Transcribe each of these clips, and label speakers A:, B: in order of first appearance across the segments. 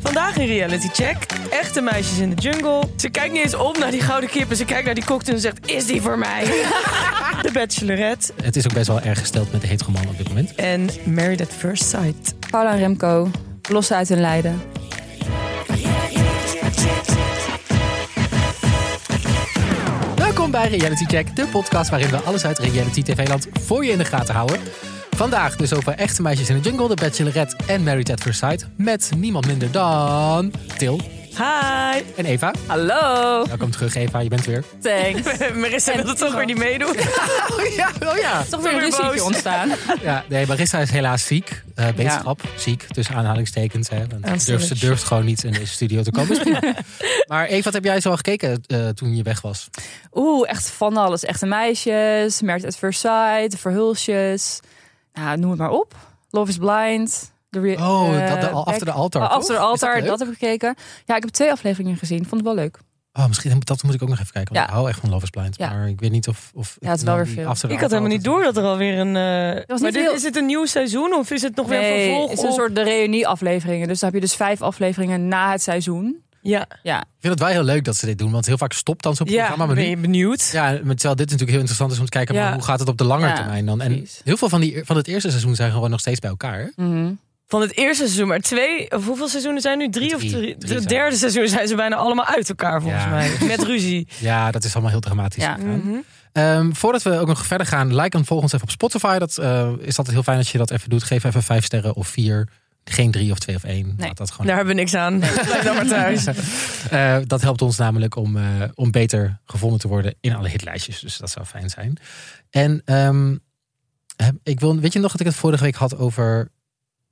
A: vandaag in Reality Check. Echte meisjes in de jungle. Ze kijkt niet eens om naar die gouden kippen. Ze kijkt naar die cocktail en zegt, is die voor mij? de Bachelorette
B: Het is ook best wel erg gesteld met de heteroman op dit moment.
A: en Married at First Sight.
C: Paula en Remco, lossen uit hun lijden.
B: Welkom bij Reality Check, de podcast waarin we alles uit reality TV-land voor je in de gaten houden. Vandaag dus over echte meisjes in de jungle, de Bachelorette en Married at First Sight. Met niemand minder dan Til
A: Hi!
B: en Eva.
C: Hallo.
B: Welkom terug Eva, je bent weer.
C: Thanks.
A: Marissa
C: En
A: wil het toch
C: Timo.
A: weer niet meedoen.
B: Oh ja, oh ja.
C: Toch weer een
A: Weer boos.
C: ruzietje ontstaan.
B: ja nee, Marissa is helaas ziek. Eh beterschap, ziek, tussen aanhalingstekens. Hè, want ze durft, ze durft gewoon niet in deze studio te komen. Is prima. maar Eva, wat heb jij zo gekeken eh, toen je weg was?
C: Oeh, echt van alles. Echte meisjes, Married at First Sight, de Verhulsjes. Nou, noem het maar op. Love is Blind. de re-
B: Oh,
C: eh,
B: dat, de,
C: Back-
B: After the Altar.
C: Oh, After the
B: toch? Is dat
C: Altar,
B: leuk?
C: dat, heb ik gekeken. Ja, ik heb twee afleveringen gezien. Vond het wel leuk.
B: Oh, misschien dat moet ik ook nog even kijken. Want
C: Ja.
B: Ik hou echt van Love is Blind.
C: Ja.
B: Maar ik weet niet of... of nou
C: Ja, het is wel weer veel.
A: Ik had helemaal niet door dat er alweer een... eh,
C: was
A: maar
C: niet
A: dit,
C: heel-
A: is het een nieuw seizoen of is het nog weer een
C: nee,
A: vervolg
C: het is een
A: op-
C: soort de reunie afleveringen. Dus dan heb je dus vijf afleveringen na het seizoen.
A: Ja,
C: Ja,
B: Ik vind het wel heel leuk dat ze dit doen. Want heel vaak stopt dan zo'n
A: ja
B: programma. Maar
A: ben
B: nu,
A: je benieuwd?
B: ja, maar terwijl dit natuurlijk heel interessant is om te kijken... maar
A: Ja.
B: hoe gaat het op de lange
C: Ja,
B: termijn dan? En
C: precies.
B: heel veel van, die, e- van het eerste seizoen zijn gewoon nog steeds bij elkaar. hè?
C: Mhm.
A: Van het eerste seizoen, maar twee, of hoeveel seizoenen zijn nu? Drie,
B: Drie.
A: of drie?
B: Drie
A: Het
B: zijn
A: derde seizoen zijn ze bijna allemaal uit elkaar volgens
B: Ja.
A: mij. Met ruzie. Mhm.
B: Ja, dat is allemaal heel dramatisch.
C: Ja. Mm.
B: gegaan. Ehm, voordat we ook nog verder gaan, like en volg ons even op Spotify. Dat eh, is altijd heel fijn als je dat even doet. Geef even vijf sterren of vier. Geen drie of twee of één. Laat dat gewoon
A: Daar hebben we niks aan. Blijf dan maar thuis.
B: Eh, dat helpt ons namelijk om, eh, om beter gevonden te worden in alle hitlijstjes. Dus dat zou fijn zijn. En ehm, heb- ik wil, weet je nog dat ik het vorige week had over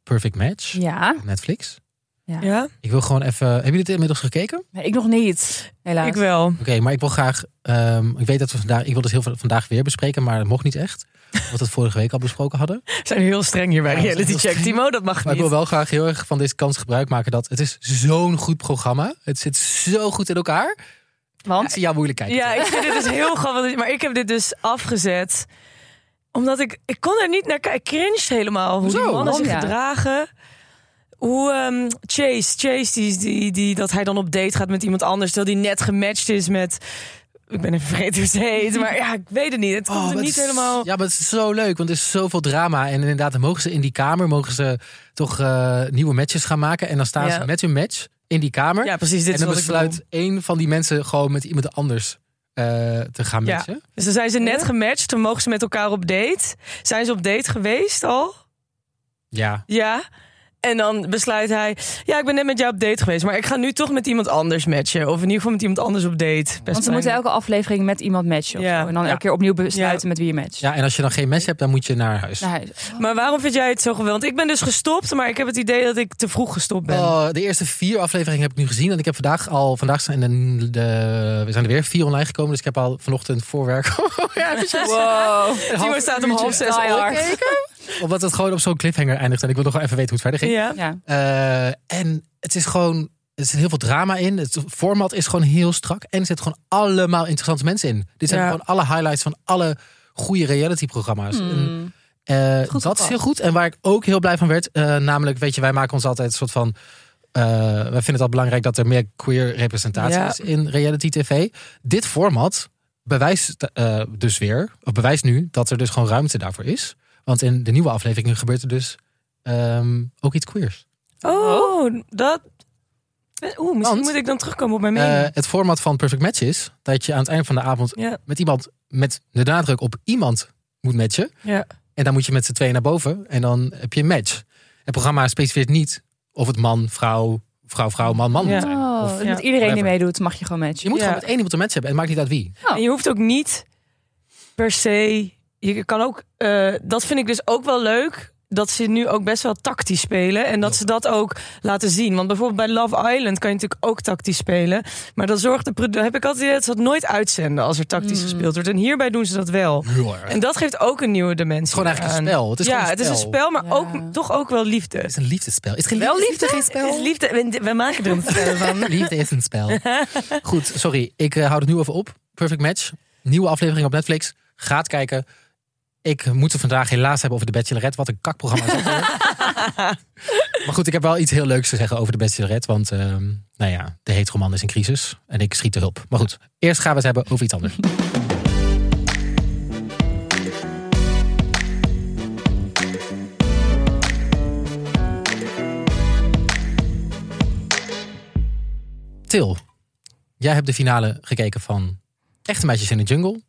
B: Perfect Match
C: ja.
B: op Netflix?
A: Ja,
B: Ik wil gewoon even. Hebben jullie dit inmiddels gekeken? Oké,
C: Nee, ik nog niet, helaas.
A: ik wel.
B: maar ik wil graag. ehm, ik weet dat we vandaag. Ik wil het heel veel vandaag weer bespreken, maar dat mocht niet echt. Wat we het vorige week al besproken hadden.
A: We zijn heel streng hier bij
B: Ja, we zijn
A: Reality
B: heel
A: Check.
B: streng.
A: Timo, dat mag
B: Maar ik wil
A: niet.
B: wel graag heel erg van deze kans gebruik maken. Dat het is zo'n goed programma. Het zit zo goed in elkaar.
C: Want
B: Want ja, moeilijk kijken.
A: Ja, ik vind dit dus heel grappig. Maar ik heb dit dus afgezet. Omdat ik... Ik kon er niet naar kijken. Ik cringe helemaal. Hoe
B: Hoezo?
A: die mannen zich
C: Ja.
A: gedragen. Hoe ehm, Chase, Chase die, die, die, dat hij dan op date gaat met iemand anders. Terwijl die net gematcht is met... Ik ben even vergeten hoe ze heet. Maar ja, ik weet het niet. Het komt
B: Oh,
A: er
B: maar
A: niet
B: het is-
A: helemaal...
B: Ja, maar het is zo leuk, want er is zoveel drama. En inderdaad, dan mogen ze in die kamer mogen ze toch eh, nieuwe matches gaan maken. En dan staan
A: Ja.
B: ze met hun match in die kamer.
A: Ja, precies. Dit
B: en
A: is
B: dan
A: wat ik bedoel.
B: besluit één van die mensen gewoon met iemand anders eh, te gaan
A: Ja.
B: matchen.
A: Dus dan zijn ze net gematcht. Toen mogen ze met elkaar op date. Zijn ze op date geweest al?
B: Ja.
A: Ja. En dan besluit hij, ja, ik ben net met jou op date geweest, maar ik ga nu toch met iemand anders matchen. Of in ieder geval met iemand anders op date. Best
C: Want ze
A: pijn.
C: moeten elke aflevering met iemand matchen. of
A: Ja.
C: zo. En dan
B: Ja.
C: elke keer opnieuw besluiten
A: Ja.
C: met wie je matcht. Nou,
B: ja, en als je dan geen match hebt, dan moet je naar huis.
C: Naar huis.
A: Maar waarom vind jij het zo geweldig? Want ik ben dus gestopt, maar ik heb het idee dat ik te vroeg gestopt ben.
B: Oh, de eerste vier afleveringen heb ik nu gezien. En ik heb vandaag al. Vandaag zijn, de, de- we zijn er weer vier online gekomen. Dus ik heb al vanochtend voorwerk. ja, eventjes een
C: Wow.
B: half
A: Timo staat om
B: uurtje.
A: half zes
C: Die
A: op.
C: hard.
B: Omdat het gewoon op zo'n cliffhanger eindigt. En ik wil nog wel even weten hoe het verder ging.
A: Ja.
C: Ja.
B: Eh, en het is gewoon. Er zit heel veel drama in. Het format is gewoon heel strak. En er zitten gewoon allemaal interessante mensen in. Dit zijn
A: Ja.
B: gewoon alle highlights van alle goede realityprogramma's. En,
C: Hmm.
B: eh,
C: Goed
B: dat is
C: gepakt.
B: heel goed. En waar ik ook heel blij van werd. eh, namelijk, weet je, wij maken ons altijd een soort van. eh, wij vinden het al belangrijk dat er meer queer representatie
A: Ja.
B: is in reality tv. Dit format bewijst eh, dus weer, of bewijst nu dat er dus gewoon ruimte daarvoor is. Want in de nieuwe afleveringen gebeurt er dus ehm, ook iets queers.
A: Oh, dat... Eh, Oeh, misschien
B: Want-
A: moet ik dan terugkomen op mijn
B: Eh,
A: mening.
B: het format van Perfect Match is dat je aan het eind van de avond
A: ja,
B: met iemand met de nadruk op iemand moet matchen.
A: ja.
B: En dan moet je met z'n tweeën naar boven en dan heb je een match. Het programma specificeert niet of het man, vrouw, vrouw, vrouw, man, man
A: Ja.
B: moet zijn.
C: Oh,
B: Of-
C: dus
A: Ja.
C: Met iedereen die
B: Whatever.
C: meedoet mag je gewoon matchen.
B: je moet
A: Ja.
B: gewoon met één iemand een match hebben en het maakt niet uit wie.
C: Oh.
A: En je hoeft ook niet per se. Je kan ook. eh, dat vind ik dus ook wel leuk. Dat ze nu ook best wel tactisch spelen. En dat ze dat ook laten zien. Want bijvoorbeeld bij Love Island kan je natuurlijk ook tactisch spelen. Maar dan zorgt de produ- heb ik altijd het idee dat ze dat nooit uitzenden als er tactisch
B: Mm.
A: gespeeld wordt. En hierbij doen ze dat wel.
B: Heel erg.
A: En dat geeft ook een nieuwe dimensie.
B: Gewoon eigenlijk een
A: aan.
B: spel. Het is
A: ja,
B: gewoon een
A: het is een
B: spel.
A: spel, maar
C: Ja.
A: ook, toch ook wel liefde.
B: Het is een liefdesspel. Is het geen
A: Wel
B: liefde?
A: liefde?
B: Is het geen
A: Het is
B: spel?
A: liefde. We, we maken er een spel van.
B: Liefde is een spel. Goed, sorry. Ik eh, houd het nu even op. Perfect Match. Nieuwe aflevering op Netflix. Gaat kijken. Ik moet het vandaag helaas hebben over de Bachelorette. Wat een kakprogramma. is dat weer. Maar goed, ik heb wel iets heel leuks te zeggen over de Bachelorette. Want ehm, nou ja, de heteroman is in crisis. En ik schiet de hulp. Maar goed, eerst gaan we het hebben over iets anders. Til, jij hebt de finale gekeken van Echte Meisjes in de Jungle.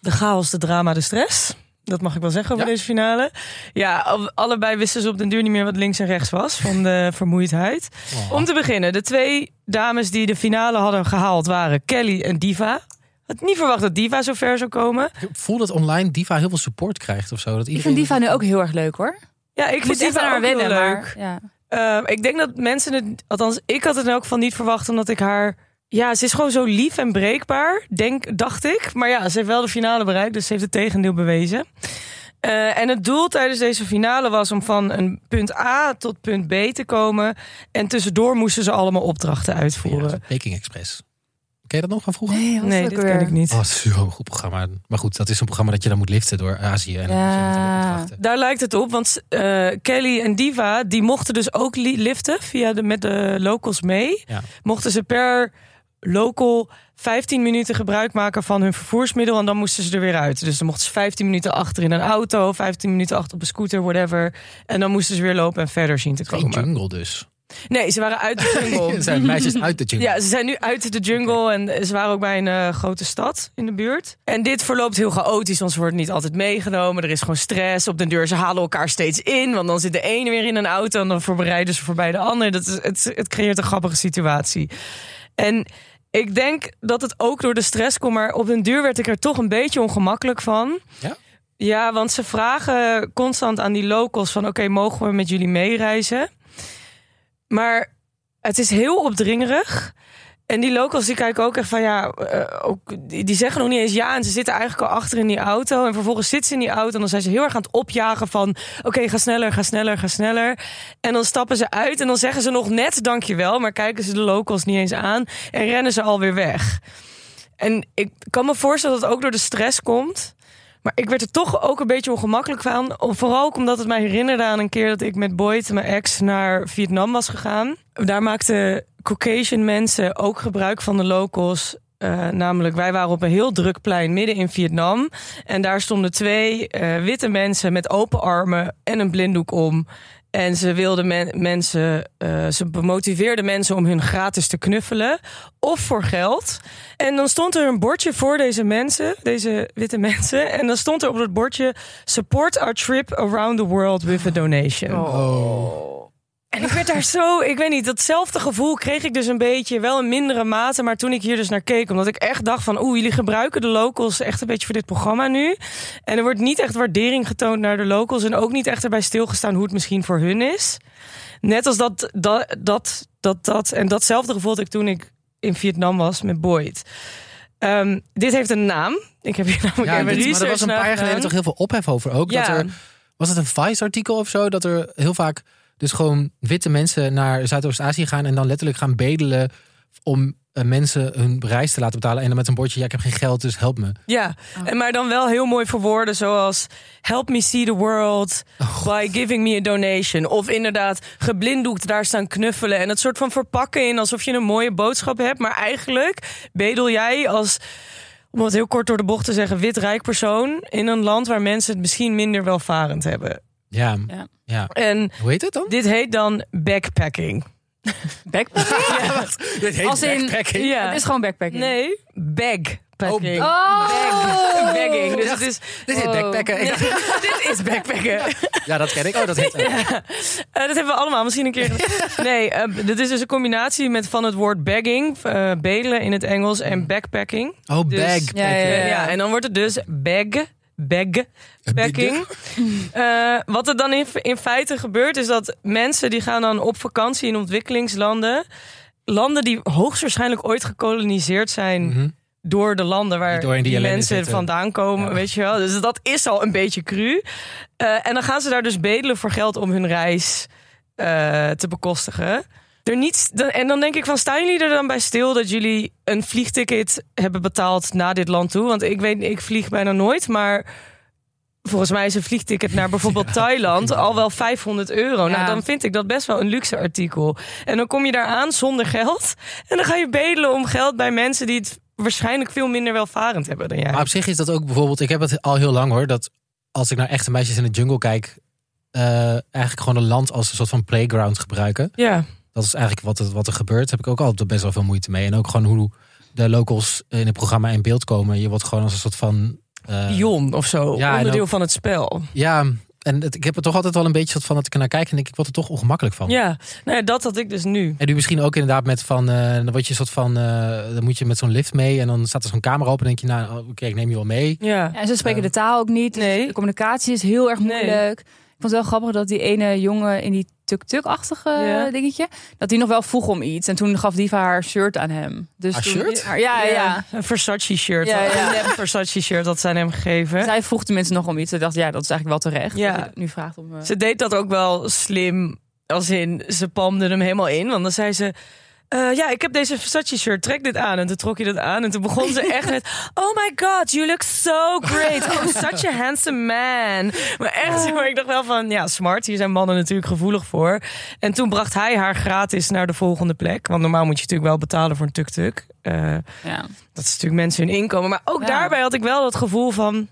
A: De chaos, de drama, de stress. Dat mag ik wel zeggen over
B: Ja.
A: deze finale. Ja, al- allebei wisten ze op den duur niet meer wat links en rechts was van de vermoeidheid.
B: Oh.
A: Om te beginnen, de twee dames die de finale hadden gehaald waren Kelly en Diva. Had niet verwacht dat Diva zo ver zou komen.
B: Oh, Ik voel dat online Diva heel veel support krijgt of zo. Dat
C: Ik vind
B: iedereen-
C: Diva nu ook heel erg leuk hoor.
A: Ja, ik
C: Ik
A: vind
C: moet echt aan
A: Diva
C: haar
A: ook heel
C: wennen,
A: leuk.
C: maar ja.
A: Eh, ik denk dat mensen het, althans, ik had het er ook van niet verwacht, omdat ik haar. Ja, ze is gewoon zo lief en breekbaar, denk, dacht ik. Maar ja, ze heeft wel de finale bereikt, dus ze heeft het tegendeel bewezen. Eh, en het doel tijdens deze finale was om van een punt A tot punt B te komen. En tussendoor moesten ze allemaal opdrachten
B: Ja,
A: uitvoeren.
B: dat is Peking Express. Ken je dat nog van vroeger?
C: Nee,
A: nee, dit ken ik niet.
B: Oh, zo'n goed programma. Maar goed, dat is een programma dat je dan moet liften door Azië. En dan
C: Ja.
B: moet je met alle opdrachten.
A: Daar lijkt het op, want eh, Kelly en Diva die mochten dus ook li- liften via de, met de locals mee.
B: Ja.
A: Mochten ze per local 15 minuten gebruik maken van hun vervoersmiddel en dan moesten ze er weer uit. Dus dan mochten ze 15 minuten achter in een auto, 15 minuten achter op een scooter, whatever. En dan moesten ze weer lopen en verder zien te
B: Geen
A: komen.
B: jungle dus.
A: Nee, ze waren uit de
B: Er
A: jungle.
B: zijn meisjes uit de jungle.
A: Ja, ze zijn nu uit de jungle en eh, ze waren ook bij een eh, grote stad in de buurt. En dit verloopt heel chaotisch, want ze worden niet altijd meegenomen. Er is gewoon stress op de deur. Ze halen elkaar steeds in, want dan zit de ene weer in een auto en dan voorbereiden ze voorbij de ander. Dat is, het, het creëert een grappige situatie. En ik denk dat het ook door de stress komt, maar op den duur werd ik er toch een beetje ongemakkelijk van.
B: Ja?
A: Ja, want ze vragen constant aan die locals van... oké, mogen we met jullie meereizen? Maar het is heel opdringerig. En die locals die kijken ook echt van ja, eh, ook, die, die zeggen nog niet eens ja. En ze zitten eigenlijk al achter in die auto. En vervolgens zitten ze in die auto en dan zijn ze heel erg aan het opjagen van... oké, ga sneller, ga sneller, ga sneller. En dan stappen ze uit en dan zeggen ze nog net dankjewel... maar kijken ze de locals niet eens aan en rennen ze alweer weg. En ik kan me voorstellen dat het ook door de stress komt... Maar ik werd er toch ook een beetje ongemakkelijk van. Vooral ook omdat het mij herinnerde aan een keer dat ik met Boyd, mijn ex, naar Vietnam was gegaan. Daar maakten Caucasian mensen ook gebruik van de locals. Eh, namelijk, wij waren op een heel druk plein midden in Vietnam. En daar stonden twee eh, witte mensen met open armen en een blinddoek om. En ze wilden men- mensen, eh, ze motiveerden mensen om hun gratis te knuffelen. Of voor geld. En dan stond er een bordje voor deze mensen, deze witte mensen. En dan stond er op dat bordje: Support our trip around the world with a donation. En ik werd daar zo, ik weet niet, datzelfde gevoel kreeg ik dus een beetje, wel in mindere mate. Maar toen ik hier dus naar keek, omdat ik echt dacht van, oeh, jullie gebruiken de locals echt een beetje voor dit programma nu. En er wordt niet echt waardering getoond naar de locals en ook niet echt erbij stilgestaan hoe het misschien voor hun is. Net als dat, dat, dat, dat, dat en datzelfde gevoel had ik toen ik in Vietnam was met Boyd. Ehm, dit heeft een naam. Ik heb hier namelijk
B: Ja,
A: even
B: dit- maar er
A: research
B: was een
A: naar
B: paar jaar geleden
A: gedaan.
B: toch heel veel ophef over ook.
A: Ja.
B: Dat er, was het een Vice-artikel of zo? Dat er heel vaak dus gewoon witte mensen naar Zuidoost-Azië gaan... en dan letterlijk gaan bedelen om eh, mensen hun reis te laten betalen... en dan met een bordje, ja, ik heb geen geld, dus help me.
A: Ja,
C: Ah.
A: en maar dan wel heel mooi verwoorden zoals... Help me see the world
C: Oh,
A: by giving me a donation. Of inderdaad, geblinddoekt daar staan knuffelen. En het soort van verpakken in alsof je een mooie boodschap hebt. Maar eigenlijk bedel jij als, om het heel kort door de bocht te zeggen... wit rijk persoon in een land waar mensen het misschien minder welvarend hebben.
B: Ja, ja.
C: Ja.
A: En
B: Hoe heet het dan?
A: dit heet dan backpacking.
C: Backpacking?
B: Dit heet
C: Als in-
B: backpacking.
A: Ja.
C: Het is gewoon backpacking.
A: Nee, bagpacking.
C: Oh!
A: Bag- Bagging. Dus
B: Ja.
A: het is,
B: Dit heet
C: Wow.
B: backpacken. Ik dacht,
A: dit is backpacken.
B: Ja, dat ken ik. Oh, dat heet...
A: Eh, dat hebben we allemaal misschien een keer. nee, eh, dit is dus een combinatie met van het woord bagging, eh, bedelen in het Engels, en backpacking.
B: Oh,
A: Dus-
B: backpacking.
C: Ja, ja,
A: Eh, ja, en dan wordt het dus bag, bag, packing. Eh, wat er dan in, in feite gebeurt, is dat mensen die gaan dan op vakantie in ontwikkelingslanden. Landen die hoogstwaarschijnlijk ooit gekoloniseerd zijn
B: Mhm.
A: door de landen waar
B: Die door in
A: die,
B: die ellende
A: mensen
B: zitten.
A: vandaan komen,
B: Ja.
A: weet je wel. Dus dat is al een beetje cru. Eh, en dan gaan ze daar dus bedelen voor geld om hun reis eh, te bekostigen. Er niet, dan- en dan denk ik van, staan jullie er dan bij stil dat jullie een vliegticket hebben betaald naar dit land toe? Want ik weet, ik vlieg bijna nooit, maar Volgens mij is een vliegticket naar bijvoorbeeld Thailand al wel 500 euro.
C: Ja.
A: Nou, dan vind ik dat best wel een luxe artikel. En dan kom je daar aan zonder geld. En dan ga je bedelen om geld bij mensen die het waarschijnlijk veel minder welvarend hebben dan jij.
B: Maar op zich is dat ook bijvoorbeeld... Ik heb het al heel lang hoor, dat als ik naar echte meisjes in de jungle kijk... eh, eigenlijk gewoon een land als een soort van playground gebruiken.
A: Ja,
B: Dat is eigenlijk wat, het- wat er gebeurt. Daar heb ik ook altijd best wel veel moeite mee. En ook gewoon hoe de locals in het programma in beeld komen. Je wordt gewoon als een soort van... eh,
A: pion of zo.
B: ja, en
A: onderdeel
B: ook- Oh.
A: van het spel.
B: ja, en het- ik heb er toch altijd wel een beetje soort van dat ik er naar kijk... en denk ik word er toch ongemakkelijk van.
A: Ja, nou ja, dat had ik dus nu.
B: En nu misschien ook inderdaad met van, eh, dan word je een soort van, eh, dan moet je met zo'n lift mee en dan staat er zo'n camera op en denk je, nou, oké, ik neem je wel mee.
A: Ja.
C: Ja, en ze spreken de taal ook niet. dus
A: Nee.
C: De communicatie is heel erg
A: Nee.
C: moeilijk. Ik vond het wel grappig dat die ene jongen in die tuk-tuk-achtige
A: Ja.
C: dingetje... dat die nog wel vroeg om iets. En toen gaf Diva haar shirt aan hem. Dus
B: Haar
C: toen-
B: shirt?
C: Haar- ja, ja.
A: Een Versace shirt.
C: Ja, ja.
A: Een nep Versace shirt dat ze aan hem gegeven.
C: Zij vroeg tenminste nog om iets. Ik dacht, ja, dat is eigenlijk wel terecht.
A: Ja.
C: Dat je nu vraagt om... eh,
A: Ze deed dat ook wel slim. Als in, ze palmde hem helemaal in. Want dan zei ze... eh, ja, ik heb deze Versace shirt, trek dit aan. En toen trok je dat aan en toen begon ze echt met... Oh my god, you look so great. Oh, such a handsome man. Maar echt,
C: Ah.
A: zeg maar, ik dacht wel van... Ja, smart, hier zijn mannen natuurlijk gevoelig voor. En toen bracht hij haar gratis naar de volgende plek. Want normaal moet je natuurlijk wel betalen voor een tuk-tuk. Eh,
C: ja.
A: dat is natuurlijk mensen hun inkomen. Maar ook
C: Ja.
A: daarbij had ik wel dat gevoel van...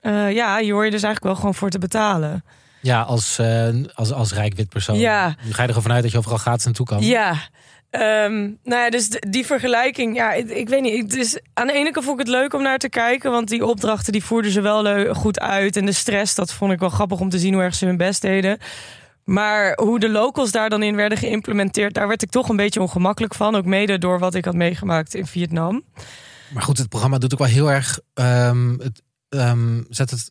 A: eh, ja, hier hoor je dus eigenlijk wel gewoon voor te betalen.
B: Ja, als, eh, als, als rijk wit persoon.
A: Ja.
B: Nu ga je er gewoon vanuit dat je overal gratis naartoe kan.
A: Ja. Ehm, nou ja, dus d- die vergelijking, ja, ik, ik weet niet. Ik, dus aan de ene kant vond ik het leuk om naar te kijken, want die opdrachten die voerden ze wel leu- goed uit. En de stress, dat vond ik wel grappig om te zien hoe erg ze hun best deden. Maar hoe de locals daar dan in werden geïmplementeerd, daar werd ik toch een beetje ongemakkelijk van. Ook mede door wat ik had meegemaakt in Vietnam.
B: Maar goed, het programma doet ook wel heel erg, ehm, het, ehm, zet het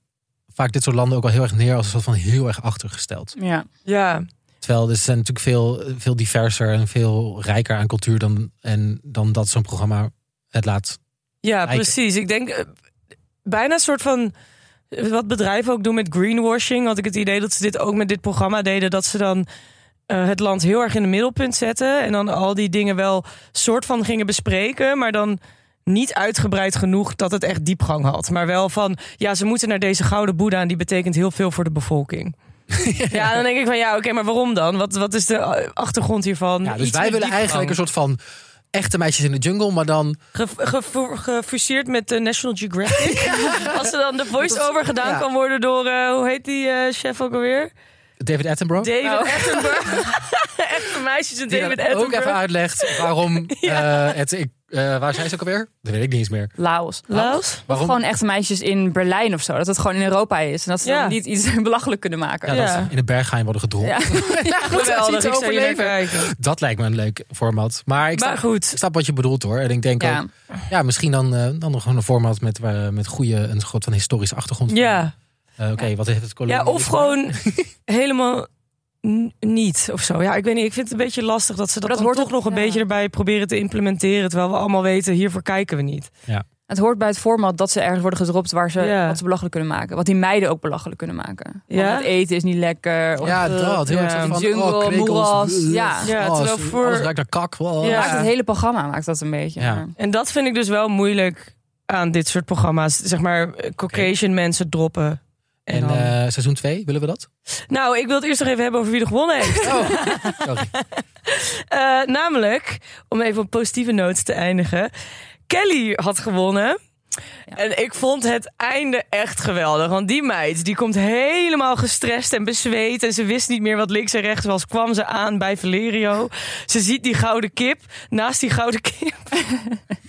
B: vaak dit soort landen ook wel heel erg neer als een soort van heel erg achtergesteld.
C: ja.
A: Ja,
B: Terwijl er zijn natuurlijk veel, veel diverser en veel rijker aan cultuur dan, en, dan dat zo'n programma het laat.
A: Ja,
B: Lijken.
A: precies. Ik denk eh, bijna een soort van. eh, Wat bedrijven ook doen met greenwashing. Had ik het idee dat ze dit ook met dit programma deden. Dat ze dan eh, het land heel erg in het middelpunt zetten. En dan al die dingen wel soort van gingen bespreken. Maar dan niet uitgebreid genoeg dat het echt diepgang had. Maar wel van, ja, ze moeten naar deze gouden boeddha... en die betekent heel veel voor de bevolking. ja, dan denk ik van, ja, oké, maar waarom dan? Wat, wat is de eh, achtergrond hiervan?
B: Ja, dus
A: Iets
B: wij
A: met
B: willen
A: diepgang.
B: eigenlijk een soort van echte meisjes in de jungle, maar dan
A: Ge- gevo- gefuseerd met de National Geographic. Als er dan de voice-over gedaan
B: ja.
A: kan worden door, eh, hoe heet die eh, chef ook alweer?
B: David Attenborough.
A: David
C: Nou.
A: Attenborough. Echte meisjes en
B: Die
A: David
B: dan ook even
A: Attenborough.
B: uitlegt waarom eh, het... Ik, eh, waar zijn ze ook alweer? Dat weet ik niet eens meer.
C: Laos.
A: Laos?
C: Of
B: Waarom?
C: gewoon echte meisjes in Berlijn of zo. Dat het gewoon in Europa is. En dat ze
A: Ja.
C: dan niet iets belachelijk kunnen maken.
B: Ja, dat
A: Ja.
B: ze in de bergheim worden gedronken.
C: Ja.
B: als je
A: Geweldig,
B: iets
A: ik zou hier naar
B: overleeft.
A: kijken.
B: Dat lijkt me een leuk format. Maar ik
A: Maar
B: snap,
A: goed,
B: ik snap wat je bedoelt hoor. En ik denk
C: Ja.
B: ook, ja, misschien dan, eh, dan nog gewoon een format met, waar- met goede, een soort van historische achtergrond.
A: ja.
B: Eh, Oké, wat heeft het kolonie?
A: ja of gewoon helemaal n- niet of zo. Ja, ik weet niet, ik vind het een beetje lastig dat ze dat,
C: Maar dat
A: dan
C: hoort
A: toch
C: ook-
A: nog een
C: ja.
A: beetje erbij proberen te implementeren. Terwijl we allemaal weten, hiervoor kijken we niet.
C: Het hoort bij het format dat ze ergens worden gedropt waar ze
A: Ja.
C: wat ze belachelijk kunnen maken. Wat die meiden ook belachelijk kunnen maken. Want
A: Ja.
C: het eten is niet lekker. Of
B: Ja,
C: eh,
B: dat. Heel
A: Ja.
B: erg soort van,
C: Jungle,
B: oh, krekels,
C: moeras,
B: eh,
C: ja.
A: Ja,
B: alles-
A: terwijl voor-
B: alles ruikt naar kak. oh. wow.
A: Ja.
C: Maakt het hele programma maakt dat een beetje.
B: Ja.
C: Maar-
A: En dat vind ik dus wel moeilijk aan dit soort programma's. Zeg maar, eh, Caucasian mensen droppen. En,
B: En
A: dan-
B: eh, seizoen 2, willen we dat?
A: Nou, ik wil het eerst nog even hebben over wie er gewonnen heeft.
B: Oh, sorry.
A: Eh, namelijk, om even op positieve noot te eindigen. Kelly had gewonnen.
C: Ja.
A: En ik vond het einde echt geweldig. Want die meid die komt helemaal gestrest en bezweet. En ze wist niet meer wat links en rechts was. Kwam ze aan bij Valerio. Ze ziet die gouden kip. Naast die gouden kip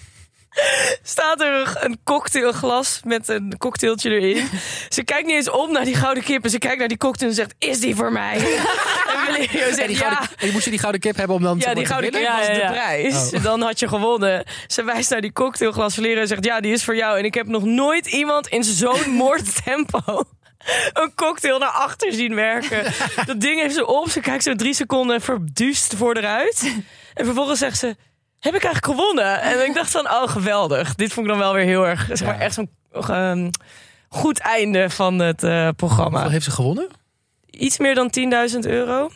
A: staat er een cocktailglas met een cocktailtje erin. Ze kijkt niet eens om naar die gouden kip. En ze kijkt naar die cocktail en zegt: Is die voor mij? en Valerio
B: En
A: zegt:
B: die
A: Ja.
B: gouden, en moest je die gouden kip hebben om dan
A: Ja, die gouden kip was de prijs.
B: Oh.
A: Dan had je gewonnen. Ze wijst naar die cocktailglas verleren en zegt... ja, die is voor jou. En ik heb nog nooit iemand in zo'n moordtempo... een cocktail naar achter zien werken. Dat ding heeft ze op. Ze kijkt zo drie seconden verduust voor eruit. En vervolgens zegt ze... heb ik eigenlijk gewonnen? En ik dacht van, oh, geweldig. Dit vond ik dan wel weer heel erg... zeg maar
B: Ja.
A: echt zo'n... ehm, Goed einde van het eh, programma.
B: Hoeveel heeft ze gewonnen?
A: Iets meer dan 10.000 euro.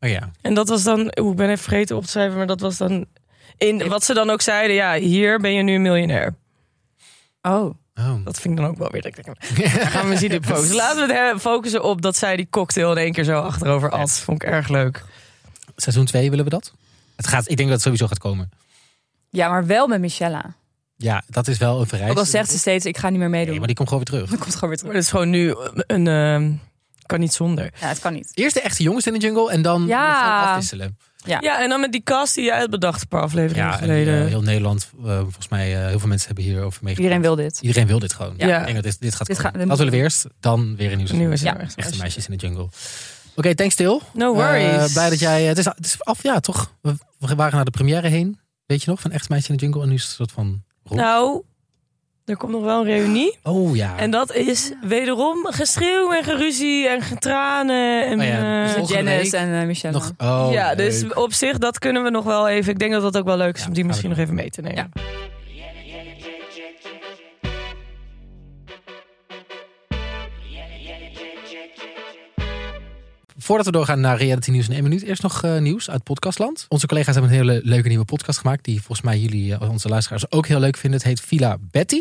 B: Oh ja.
A: En dat was dan, oeh, ik ben even vergeten op te schrijven, maar dat was dan in wat ze dan ook zeiden, ja, hier ben je nu een miljonair.
C: Oh.
B: Oké. Oh.
A: Dat vind ik dan ook wel weer. dat ik denk, daar gaan we zien in focussen. Laten we het hè, focussen op dat zij die cocktail in één keer zo achterover at. Vond ik erg leuk.
B: Seizoen 2 willen we dat? Het gaat, ik denk dat het sowieso gaat komen.
C: Ja, maar wel met Michelle.
B: Ja, dat is wel een vereiste.
C: Ook al zegt ze steeds, ik ga niet meer meedoen.
B: Nee, maar die komt gewoon weer terug.
C: Dan komt gewoon weer
A: Maar dat
C: terug.
A: is gewoon nu een. ehm, kan niet zonder.
C: Ja, het kan niet.
B: Eerst de echte jongens in de jungle en dan
C: Ja.
B: gewoon afwisselen.
A: Ja, en dan met die cast die jij had bedacht een paar afleveringen
B: Ja, en,
A: geleden.
B: eh, heel Nederland, eh, volgens mij, eh, heel veel mensen hebben hierover meegepraat.
C: Iedereen wil dit.
B: Iedereen wil dit gewoon.
A: Ja.
B: Ik denk dat dit, dit gaat
C: Dit
B: komen.
C: gaat-
B: dat
C: dit moet-
B: willen we eerst, dan weer een nieuw seizoen.
A: nu is het
C: Ja.
A: echt.
B: Echte meisjes in de jungle. Oké, thanks Til.
A: No worries.
B: Eh, blij dat jij... Het is, het is af, ja, toch? We, we waren naar de première heen, weet je nog, van Echt meisjes in de jungle. En nu is het een soort van... rond.
A: Nou, er komt nog wel een reunie.
B: oh ja.
A: En dat is wederom geschreeuw en geruzie en getranen. En,
B: Oh ja,
A: ja,
B: dus Volgende
C: Janice
B: week
C: en eh, Michelle.
B: nog, oh,
A: ja, dus
B: leuk.
A: op zich, dat kunnen we nog wel even. Ik denk dat dat ook wel leuk is
B: Ja,
A: om die
B: gaan we
A: misschien nog even mee te nemen.
C: Ja.
B: Voordat we doorgaan naar reality nieuws in één minuut, eerst nog eh, nieuws uit podcastland. Onze collega's hebben een hele leuke nieuwe podcast gemaakt, die volgens mij jullie, eh, onze luisteraars, ook heel leuk vinden. Het heet Villa Betty.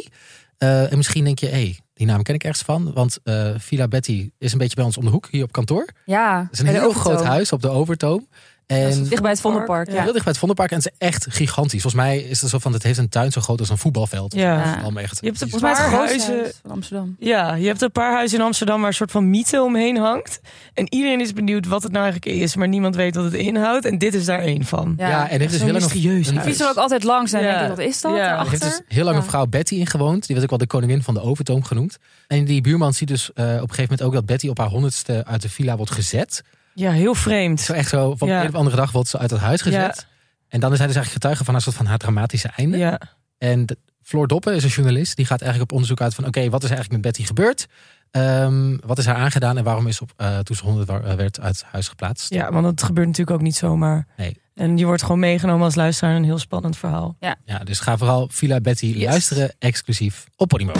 B: Eh, en misschien denk je, hé, hey, die naam ken ik ergens van, want eh, Villa Betty is een beetje bij ons om de hoek, hier op kantoor. Het
C: Ja,
B: is een
C: bij de
B: heel
C: Overtoom.
B: groot huis op de Overtoom.
A: is
B: En
A: een
C: Dicht bij het Vondelpark,
A: Ja.
C: ja.
B: heel dicht bij het Vondelpark. En het is echt gigantisch. Volgens mij is het zo van, het heeft een tuin zo groot als een voetbalveld.
A: Ja.
B: Dat is allemaal echt
A: Je hebt de
C: Volgens mij is het
A: Paar
C: grootste
A: huizen.
C: huis van Amsterdam.
A: Ja, je hebt een paar huizen in Amsterdam waar een soort van mythe omheen hangt. En iedereen is benieuwd wat het nou eigenlijk is, maar niemand weet wat het inhoudt. En dit is daar één van.
B: Ja, en heeft
A: Zo'n
B: dus heel lang een-
A: mysterieus
B: een-
A: huis.
C: Ik fiets er ook altijd langs en
A: Ja.
C: denk ik, wat is dat?
A: Ja.
B: Er heeft
C: daarachter?
B: dus heel lang
C: Ja.
B: een vrouw Betty in gewoond. Die werd ook wel de koningin van de Overtoom genoemd. En die buurman ziet dus eh, op een gegeven moment ook dat Betty op haar honderdste uit de villa wordt gezet.
A: Ja, heel vreemd.
B: Zo echt zo, van
A: Ja.
B: de een op de andere dag wordt ze uit het huis gezet. En dan is hij dus eigenlijk getuige van een soort van haar dramatische einde.
A: Ja.
B: En de- Floor Doppen is een journalist. Die gaat eigenlijk op onderzoek uit van oké, wat is er eigenlijk met Betty gebeurd? Ehm, wat is haar aangedaan en waarom is ze op, eh, toen ze honderd wa- eh, werd uit huis geplaatst?
A: ja, want het gebeurt natuurlijk ook niet zomaar.
B: Nee.
A: En je wordt gewoon meegenomen als luisteraar in een heel spannend verhaal.
B: Ja, dus ga vooral Villa Betty luisteren exclusief op Podimo.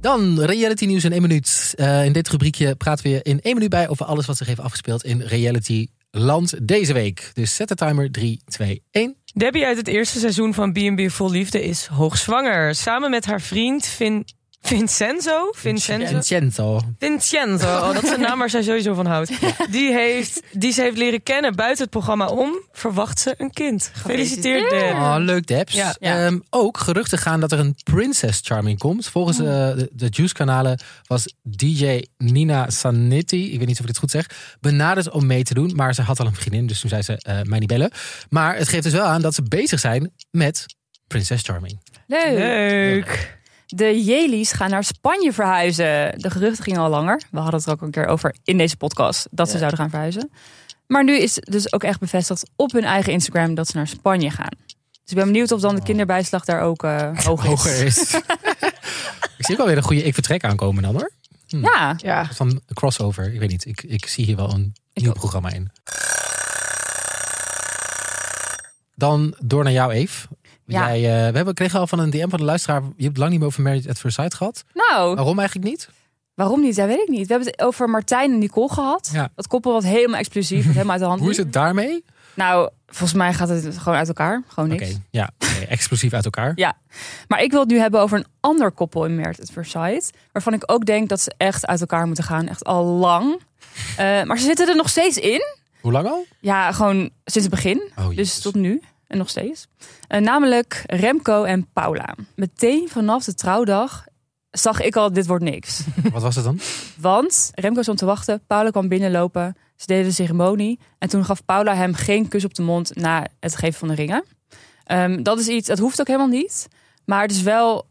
B: Dan reality nieuws in één minuut. Eh, in dit rubriekje praten we je in één minuut bij over alles wat zich heeft afgespeeld in reality land deze week. Dus zet de timer 3, 2, 1.
A: Debbie uit het eerste seizoen van B&B Vol Liefde is hoogzwanger. Samen met haar vriend Vin... Vincenzo? Vincenzo?
B: Vincenzo.
A: Vincenzo, oh, dat is een naam waar zij sowieso van houdt. Die, heeft, die ze heeft leren kennen buiten het programma om, verwacht ze een kind. Gefeliciteerd, Deb.
B: Oh, leuk, Debs.
A: Ja.
C: Ja.
B: Ehm, ook geruchten gaan dat er een Princess Charming komt. Volgens eh, de, de Juice-kanalen was DJ Nina Sanetti, ik weet niet of ik dit goed zeg, benaderd om mee te doen. Maar ze had al een vriendin, dus toen zei ze eh, mij niet bellen. Maar het geeft dus wel aan dat ze bezig zijn met Princess Charming.
C: Leuk.
A: Leuk.
C: De Jelies gaan naar Spanje verhuizen. De geruchten gingen al langer. We hadden het er ook een keer over in deze podcast dat ze
A: Ja.
C: zouden gaan verhuizen. Maar nu is dus ook echt bevestigd op hun eigen Instagram dat ze naar Spanje gaan. Dus ik ben benieuwd of dan de kinderbijslag daar ook eh hoog is.
B: Hoger is. ik zie ook alweer een goede ik vertrek aankomen dan hoor.
C: Ja,
A: Ja.
B: Van een crossover, ik weet niet. Ik, ik zie hier wel een
C: Ik
B: nieuw
C: ook.
B: programma in. Dan door naar jou, Eve.
C: Ja.
B: Jij, eh, we hebben, kregen al van een DM van de luisteraar. Je hebt het lang niet meer over Married at First Sight gehad.
C: nou,
B: Waarom eigenlijk niet?
C: waarom niet? Dat weet ik niet. We hebben het over Martijn en Nicole gehad.
B: Ja.
C: Dat koppel wat helemaal explosief, wat helemaal uit de hand
B: Hoe is
C: liep.
B: het daarmee?
C: Nou, volgens mij gaat het gewoon uit elkaar. Gewoon
B: Oké,
C: niks.
B: ja, oké, explosief uit elkaar.
C: Ja, maar ik wil het nu hebben over een ander koppel in Merit at First Sight. Waarvan ik ook denk dat ze echt uit elkaar moeten gaan. Echt al lang. Eh, maar ze zitten er nog steeds in.
B: Hoe lang al?
C: Ja, gewoon sinds het begin.
B: Oh, jezus.
C: Dus tot nu en nog steeds. Eh, namelijk Remco en Paula. Meteen vanaf de trouwdag zag ik al, dit wordt niks.
B: Wat was het dan?
C: Want Remco stond te wachten, Paula kwam binnenlopen, ze deden de ceremonie. En toen gaf Paula hem geen kus op de mond na het geven van de ringen. Ehm, dat is iets, dat hoeft ook helemaal niet. Maar het is wel,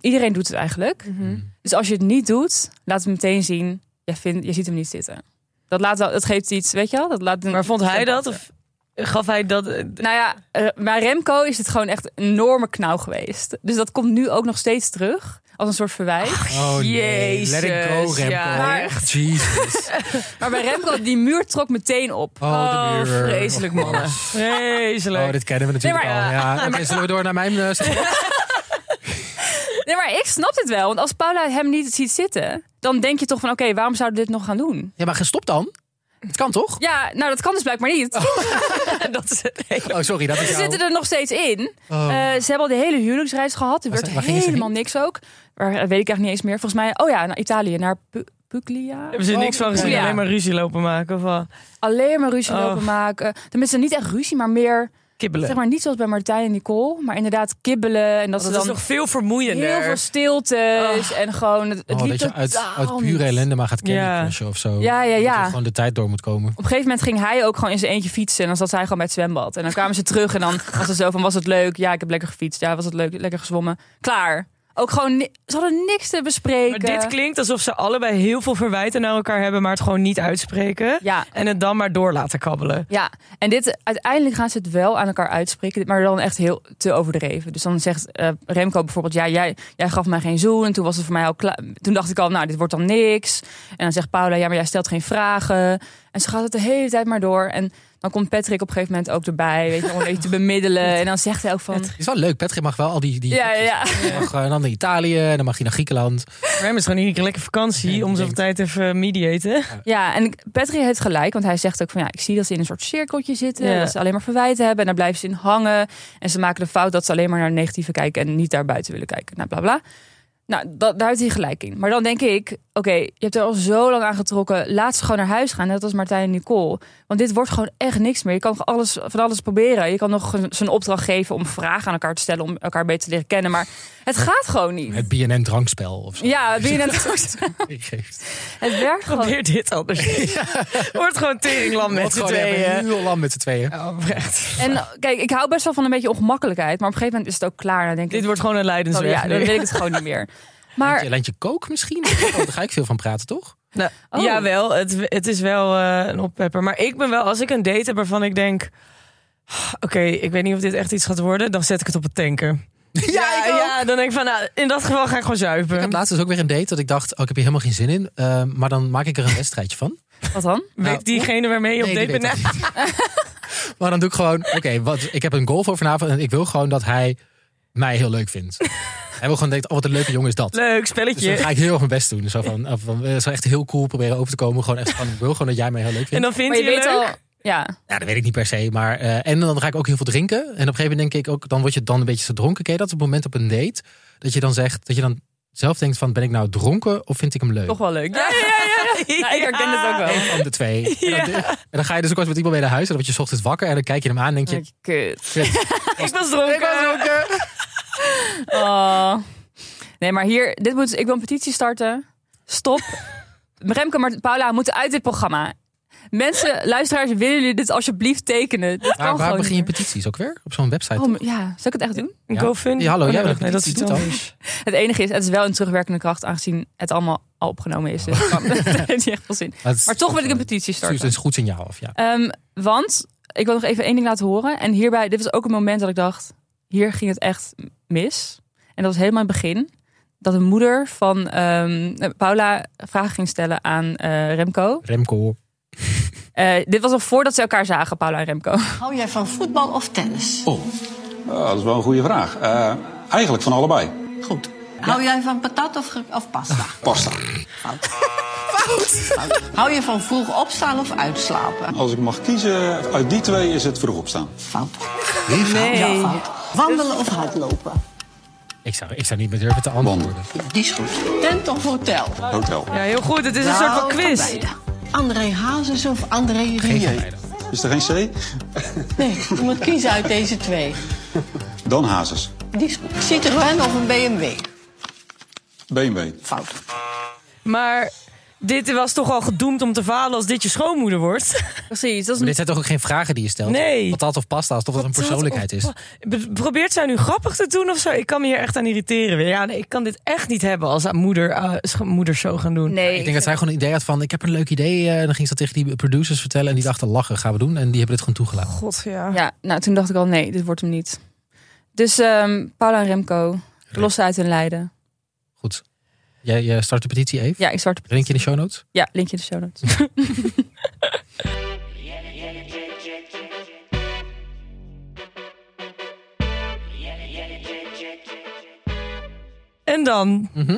C: iedereen doet het eigenlijk.
A: Mhm.
C: Dus als je het niet doet, laat het meteen zien, je, vindt, je ziet hem niet zitten. Dat, laat wel, dat geeft iets, weet je wel? Dat laat een-
A: Maar vond hij dat? Of gaf hij dat? eh,
C: Nou ja, eh, bij Remco is het gewoon echt een enorme knauw geweest. Dus dat komt nu ook nog steeds terug, als een soort verwijt.
B: Oh
A: Jezus,
B: let it go, Remco.
A: ja. Maar echt.
B: Jezus.
C: Maar bij Remco, die muur trok meteen op.
B: Oh, de muur.
A: vreselijk mannen. Vreselijk.
B: Oh, dit kennen we natuurlijk
C: Nee,
B: al.
C: maar-
B: Ja. Oké, zullen we door naar mijn... eh,
C: Nee, maar maar ik snap het wel. Want als Paula hem niet ziet zitten, dan denk je toch van... Oké, waarom zouden we dit nog gaan doen?
B: Ja, maar gestopt dan? Het kan toch?
C: Ja, nou dat kan dus blijkbaar niet.
A: dat is het hele-
B: Oh, sorry, dat is
C: Ze
B: jouw...
C: zitten er nog steeds in.
B: Oh.
C: Eh, ze hebben al de hele huwelijksreis gehad.
B: Waar
C: Er werd
B: zijn- waar gingen ze
C: helemaal niks ook. Waar eh, weet ik eigenlijk niet eens meer. Volgens mij, oh ja, naar Italië, naar Pu- Puglia.
A: Hebben ze niks van gezien,
C: Ja.
A: alleen maar ruzie lopen maken of wat?
C: Alleen maar ruzie
A: Oh.
C: lopen maken. Tenminste, niet echt ruzie, maar meer,
A: kibbelen.
C: zeg maar niet zoals bij Martijn en Nicole. Maar inderdaad kibbelen
B: Oh,
C: en dat
A: dat
C: ze
A: is
C: dan
A: nog veel vermoeiender.
C: heel veel stiltes en gewoon... Het, het
B: Oh,
C: liep
B: dat je uit,
C: totaal
B: uit pure
C: niet.
B: ellende maar gaat candy
A: Ja.
B: crushen of zo.
C: Ah, Ja, ja,
B: Dat je
C: ja.
B: gewoon de tijd door moet komen.
C: Op een gegeven moment ging hij ook gewoon in zijn eentje fietsen. En dan zat zij gewoon bij het zwembad. En dan kwamen ze terug en dan was het zo van, was het leuk? Ja, ik heb lekker gefietst. Ja, was het leuk? Lekker gezwommen. Klaar. Ook gewoon, ni- ze hadden niks te
A: Maar
C: bespreken.
A: dit klinkt alsof ze allebei heel veel verwijten naar elkaar hebben, maar het gewoon niet uitspreken.
C: Ja,
A: En het dan maar door laten kabbelen.
C: ja. En dit, uiteindelijk gaan ze het wel aan elkaar uitspreken, maar dan echt heel te overdreven. Dus dan zegt eh, Remco bijvoorbeeld, ja, jij, jij gaf mij geen zoen. En toen was het voor mij al klaar. Toen dacht ik al, nou, dit wordt dan niks. En dan zegt Paula, ja, maar jij stelt geen vragen. En ze gaat het de hele tijd maar door. En dan komt Patrick op een gegeven moment ook erbij, weet je, om een beetje te bemiddelen. En dan zegt hij ook van...
B: Het is wel leuk. Patrick mag wel al die... die
C: Ja, ja, ja.
B: Hij mag, eh, dan naar Italië, en dan mag hij naar Griekenland.
A: Rem is gewoon hier een lekker
B: Ja,
A: vakantie om zoveel
B: ik
A: tijd even eh, mediaten.
C: Ja, en Patrick heeft gelijk, want hij zegt ook van ja, ik zie dat ze in een soort cirkeltje zitten,
A: Ja.
C: dat ze alleen maar verwijten hebben en daar blijven ze in hangen. En ze maken de fout dat ze alleen maar naar het negatieve kijken en niet daar buiten willen kijken. Nou, bla bla. Nou, dat, daar heeft hij gelijk in. Maar dan denk ik, oké, je hebt er al zo lang aan getrokken, laat ze gewoon naar huis gaan, net als Martijn en Nicole. Want dit wordt gewoon echt niks meer. Je kan alles, van alles proberen. Je kan nog een- zo'n opdracht geven om vragen aan elkaar te stellen, om elkaar beter te leren kennen, maar het gaat gewoon niet.
B: Het BNN-drankspel of zo.
C: Ja, wie net
B: Geeft.
C: Het werkt gewoon
A: Probeer dit anders. Wordt gewoon teringlam met z'n tweeën.
B: heel lang met z'n tweeën.
A: Ja, oprecht.
C: En uh, kijk, ik hou best wel van een beetje ongemakkelijkheid. Maar op een gegeven moment is het ook klaar. Dan denk
A: Dit
C: ik,
A: wordt dus gewoon een
C: oh,
A: leidensweg.
C: ja, dan
A: nu.
C: weet ik het gewoon niet meer. Maar
B: Lijntje, lijntje kook misschien? Oh, daar ga ik veel van praten, toch?
A: Nou,
C: Oh.
A: Jawel, het, het is wel eh, een oppepper. Maar ik ben wel, als ik een date heb waarvan ik denk... "Ah, Oké, ik weet niet of dit echt iets gaat worden. Dan zet ik het op het tanker.
B: ik ook.
A: ja, dan denk ik van, nou, in dat geval ga ik gewoon zuipen.
B: Ik had laatst dus ook weer een date dat ik dacht, oh, ik heb hier helemaal geen zin in. eh, maar dan maak ik er een wedstrijdje van.
C: wat dan?
B: Nou,
A: Weet diegene waarmee je op
B: Nee,
A: date
B: die
A: bent?
B: weet dat niet. maar dan doe ik gewoon, oké, wat- ik heb een goal voor vanavond en ik wil gewoon dat hij mij heel leuk vindt. hij wil gewoon denken, oh wat een leuke jongen is dat.
A: Leuk
B: Dus dan
A: spelletje.
B: ga ik heel erg mijn best doen. Zo van, eh, van, eh, zo echt heel cool proberen over te komen. Gewoon echt van, ik wil gewoon dat jij mij heel leuk
A: En
B: vindt.
A: dan vindt
C: Maar je
A: hij
C: weet
A: het leuk.
C: al... Ja,
B: Ja, dat weet ik niet per se. Maar, eh, en dan ga ik ook heel veel drinken. En op een gegeven moment denk ik ook, dan word je dan een beetje zo dronken. Ken je dat op het moment op een date? Dat je dan zegt, dat je dan zelf denkt van, ben ik nou dronken of vind ik hem leuk?
C: toch wel leuk. Ja, ja, ja. Nou, ik herken het ook wel.
B: Eén van de twee. En, dan, en dan ga je dus ook wel eens met iemand mee naar huis. En dan word je 's ochtends wakker. En dan kijk je hem aan en denk je...
C: Oh, Kut.
A: Ik was dronken.
C: Oh. Nee, maar hier... Dit moet, ik wil een petitie starten. Stop. Remke en Paula moeten uit dit programma. Mensen, luisteraars, willen jullie dit alsjeblieft tekenen? Dit kan
B: Waar, waar
C: gewoon
B: begin je
C: niet
B: petities ook weer? Op zo'n website?
C: meer. Oh, maar- ja, zal ik het echt doen?
A: Een
B: Ja.
A: GoFundMe.
B: Ja, hallo,
A: Oh,
B: jij
A: nee,
B: bent een
A: nee, dat is
B: petitie,
A: iets
B: doe het
A: anders.
C: Het enige is, het is wel een terugwerkende kracht, aangezien het allemaal al opgenomen is. Dus het kan- dat heeft niet echt veel zin.
B: Dat is-
C: Maar toch wil ik een petitie
B: Stuurt
C: starten.
B: een goed signaal af, ja.
C: Ehm, want ik wil nog even één ding laten horen. En hierbij, dit was ook een moment dat ik dacht, hier ging het echt mis. En dat was helemaal in het begin. Dat een moeder van ehm, Paula vragen ging stellen aan eh, Remco.
B: Remco.
C: Eh, dit was al voordat ze elkaar zagen, Paula en Remco.
D: Hou jij van voetbal of tennis?
E: Oh, ah, dat is wel een goede vraag. Eh, eigenlijk van allebei.
D: Goed. Hou jij van patat of, ge- of pasta?
E: Pasta.
D: Fout. Fout. Hou je van vroeg opstaan of uitslapen?
E: Als ik mag kiezen, uit die twee is het vroeg opstaan.
D: Fout.
C: Nee.
D: Ja, fout. Wandelen of hardlopen?
B: Ik zou, ik zou niet meer durven te antwoorden.
E: Wandelen.
D: Die is goed. Tent of hotel?
E: Hotel.
A: Ja, heel goed. Het is een soort van
D: Nou, kan
A: quiz.
D: beide. André Hazes of André Rieu?
E: Is er geen C?
D: Nee, je moet kiezen uit deze twee.
E: Dan Hazes.
D: Die is goed. Citroën of een BMW?
E: BMW.
D: Fout.
A: Maar dit was toch al gedoemd om te falen als dit je schoonmoeder wordt?
C: Precies, dat is
B: Maar dit zijn toch ook geen vragen die je stelt?
A: Nee.
B: Patat of pasta, alsof dat een persoonlijkheid is.
A: Be- Probeert zij nu grappig te doen of zo? Ik kan me hier echt aan irriteren weer. Ja, nee, ik kan dit echt niet hebben als haar moeder, eh, scho- moeder zo gaan doen.
C: Nee,
B: Ik denk dat zij gewoon een idee had van, ik heb een leuk idee. eh, En dan ging ze dat tegen die producers vertellen. En die dachten, lachen, gaan we doen. En die hebben dit gewoon toegelaten.
A: God, ja.
C: Ja, nou toen dacht ik al, nee, dit wordt hem niet. Dus ehm, Paula en Remco, lossen uit hun lijden.
B: Goed. Jij, jij start de petitie, Eve.
C: Ja, ik start de
B: Link je in de show notes.
C: Ja, linkje in de show notes.
A: Eh, En dan
B: Mhm.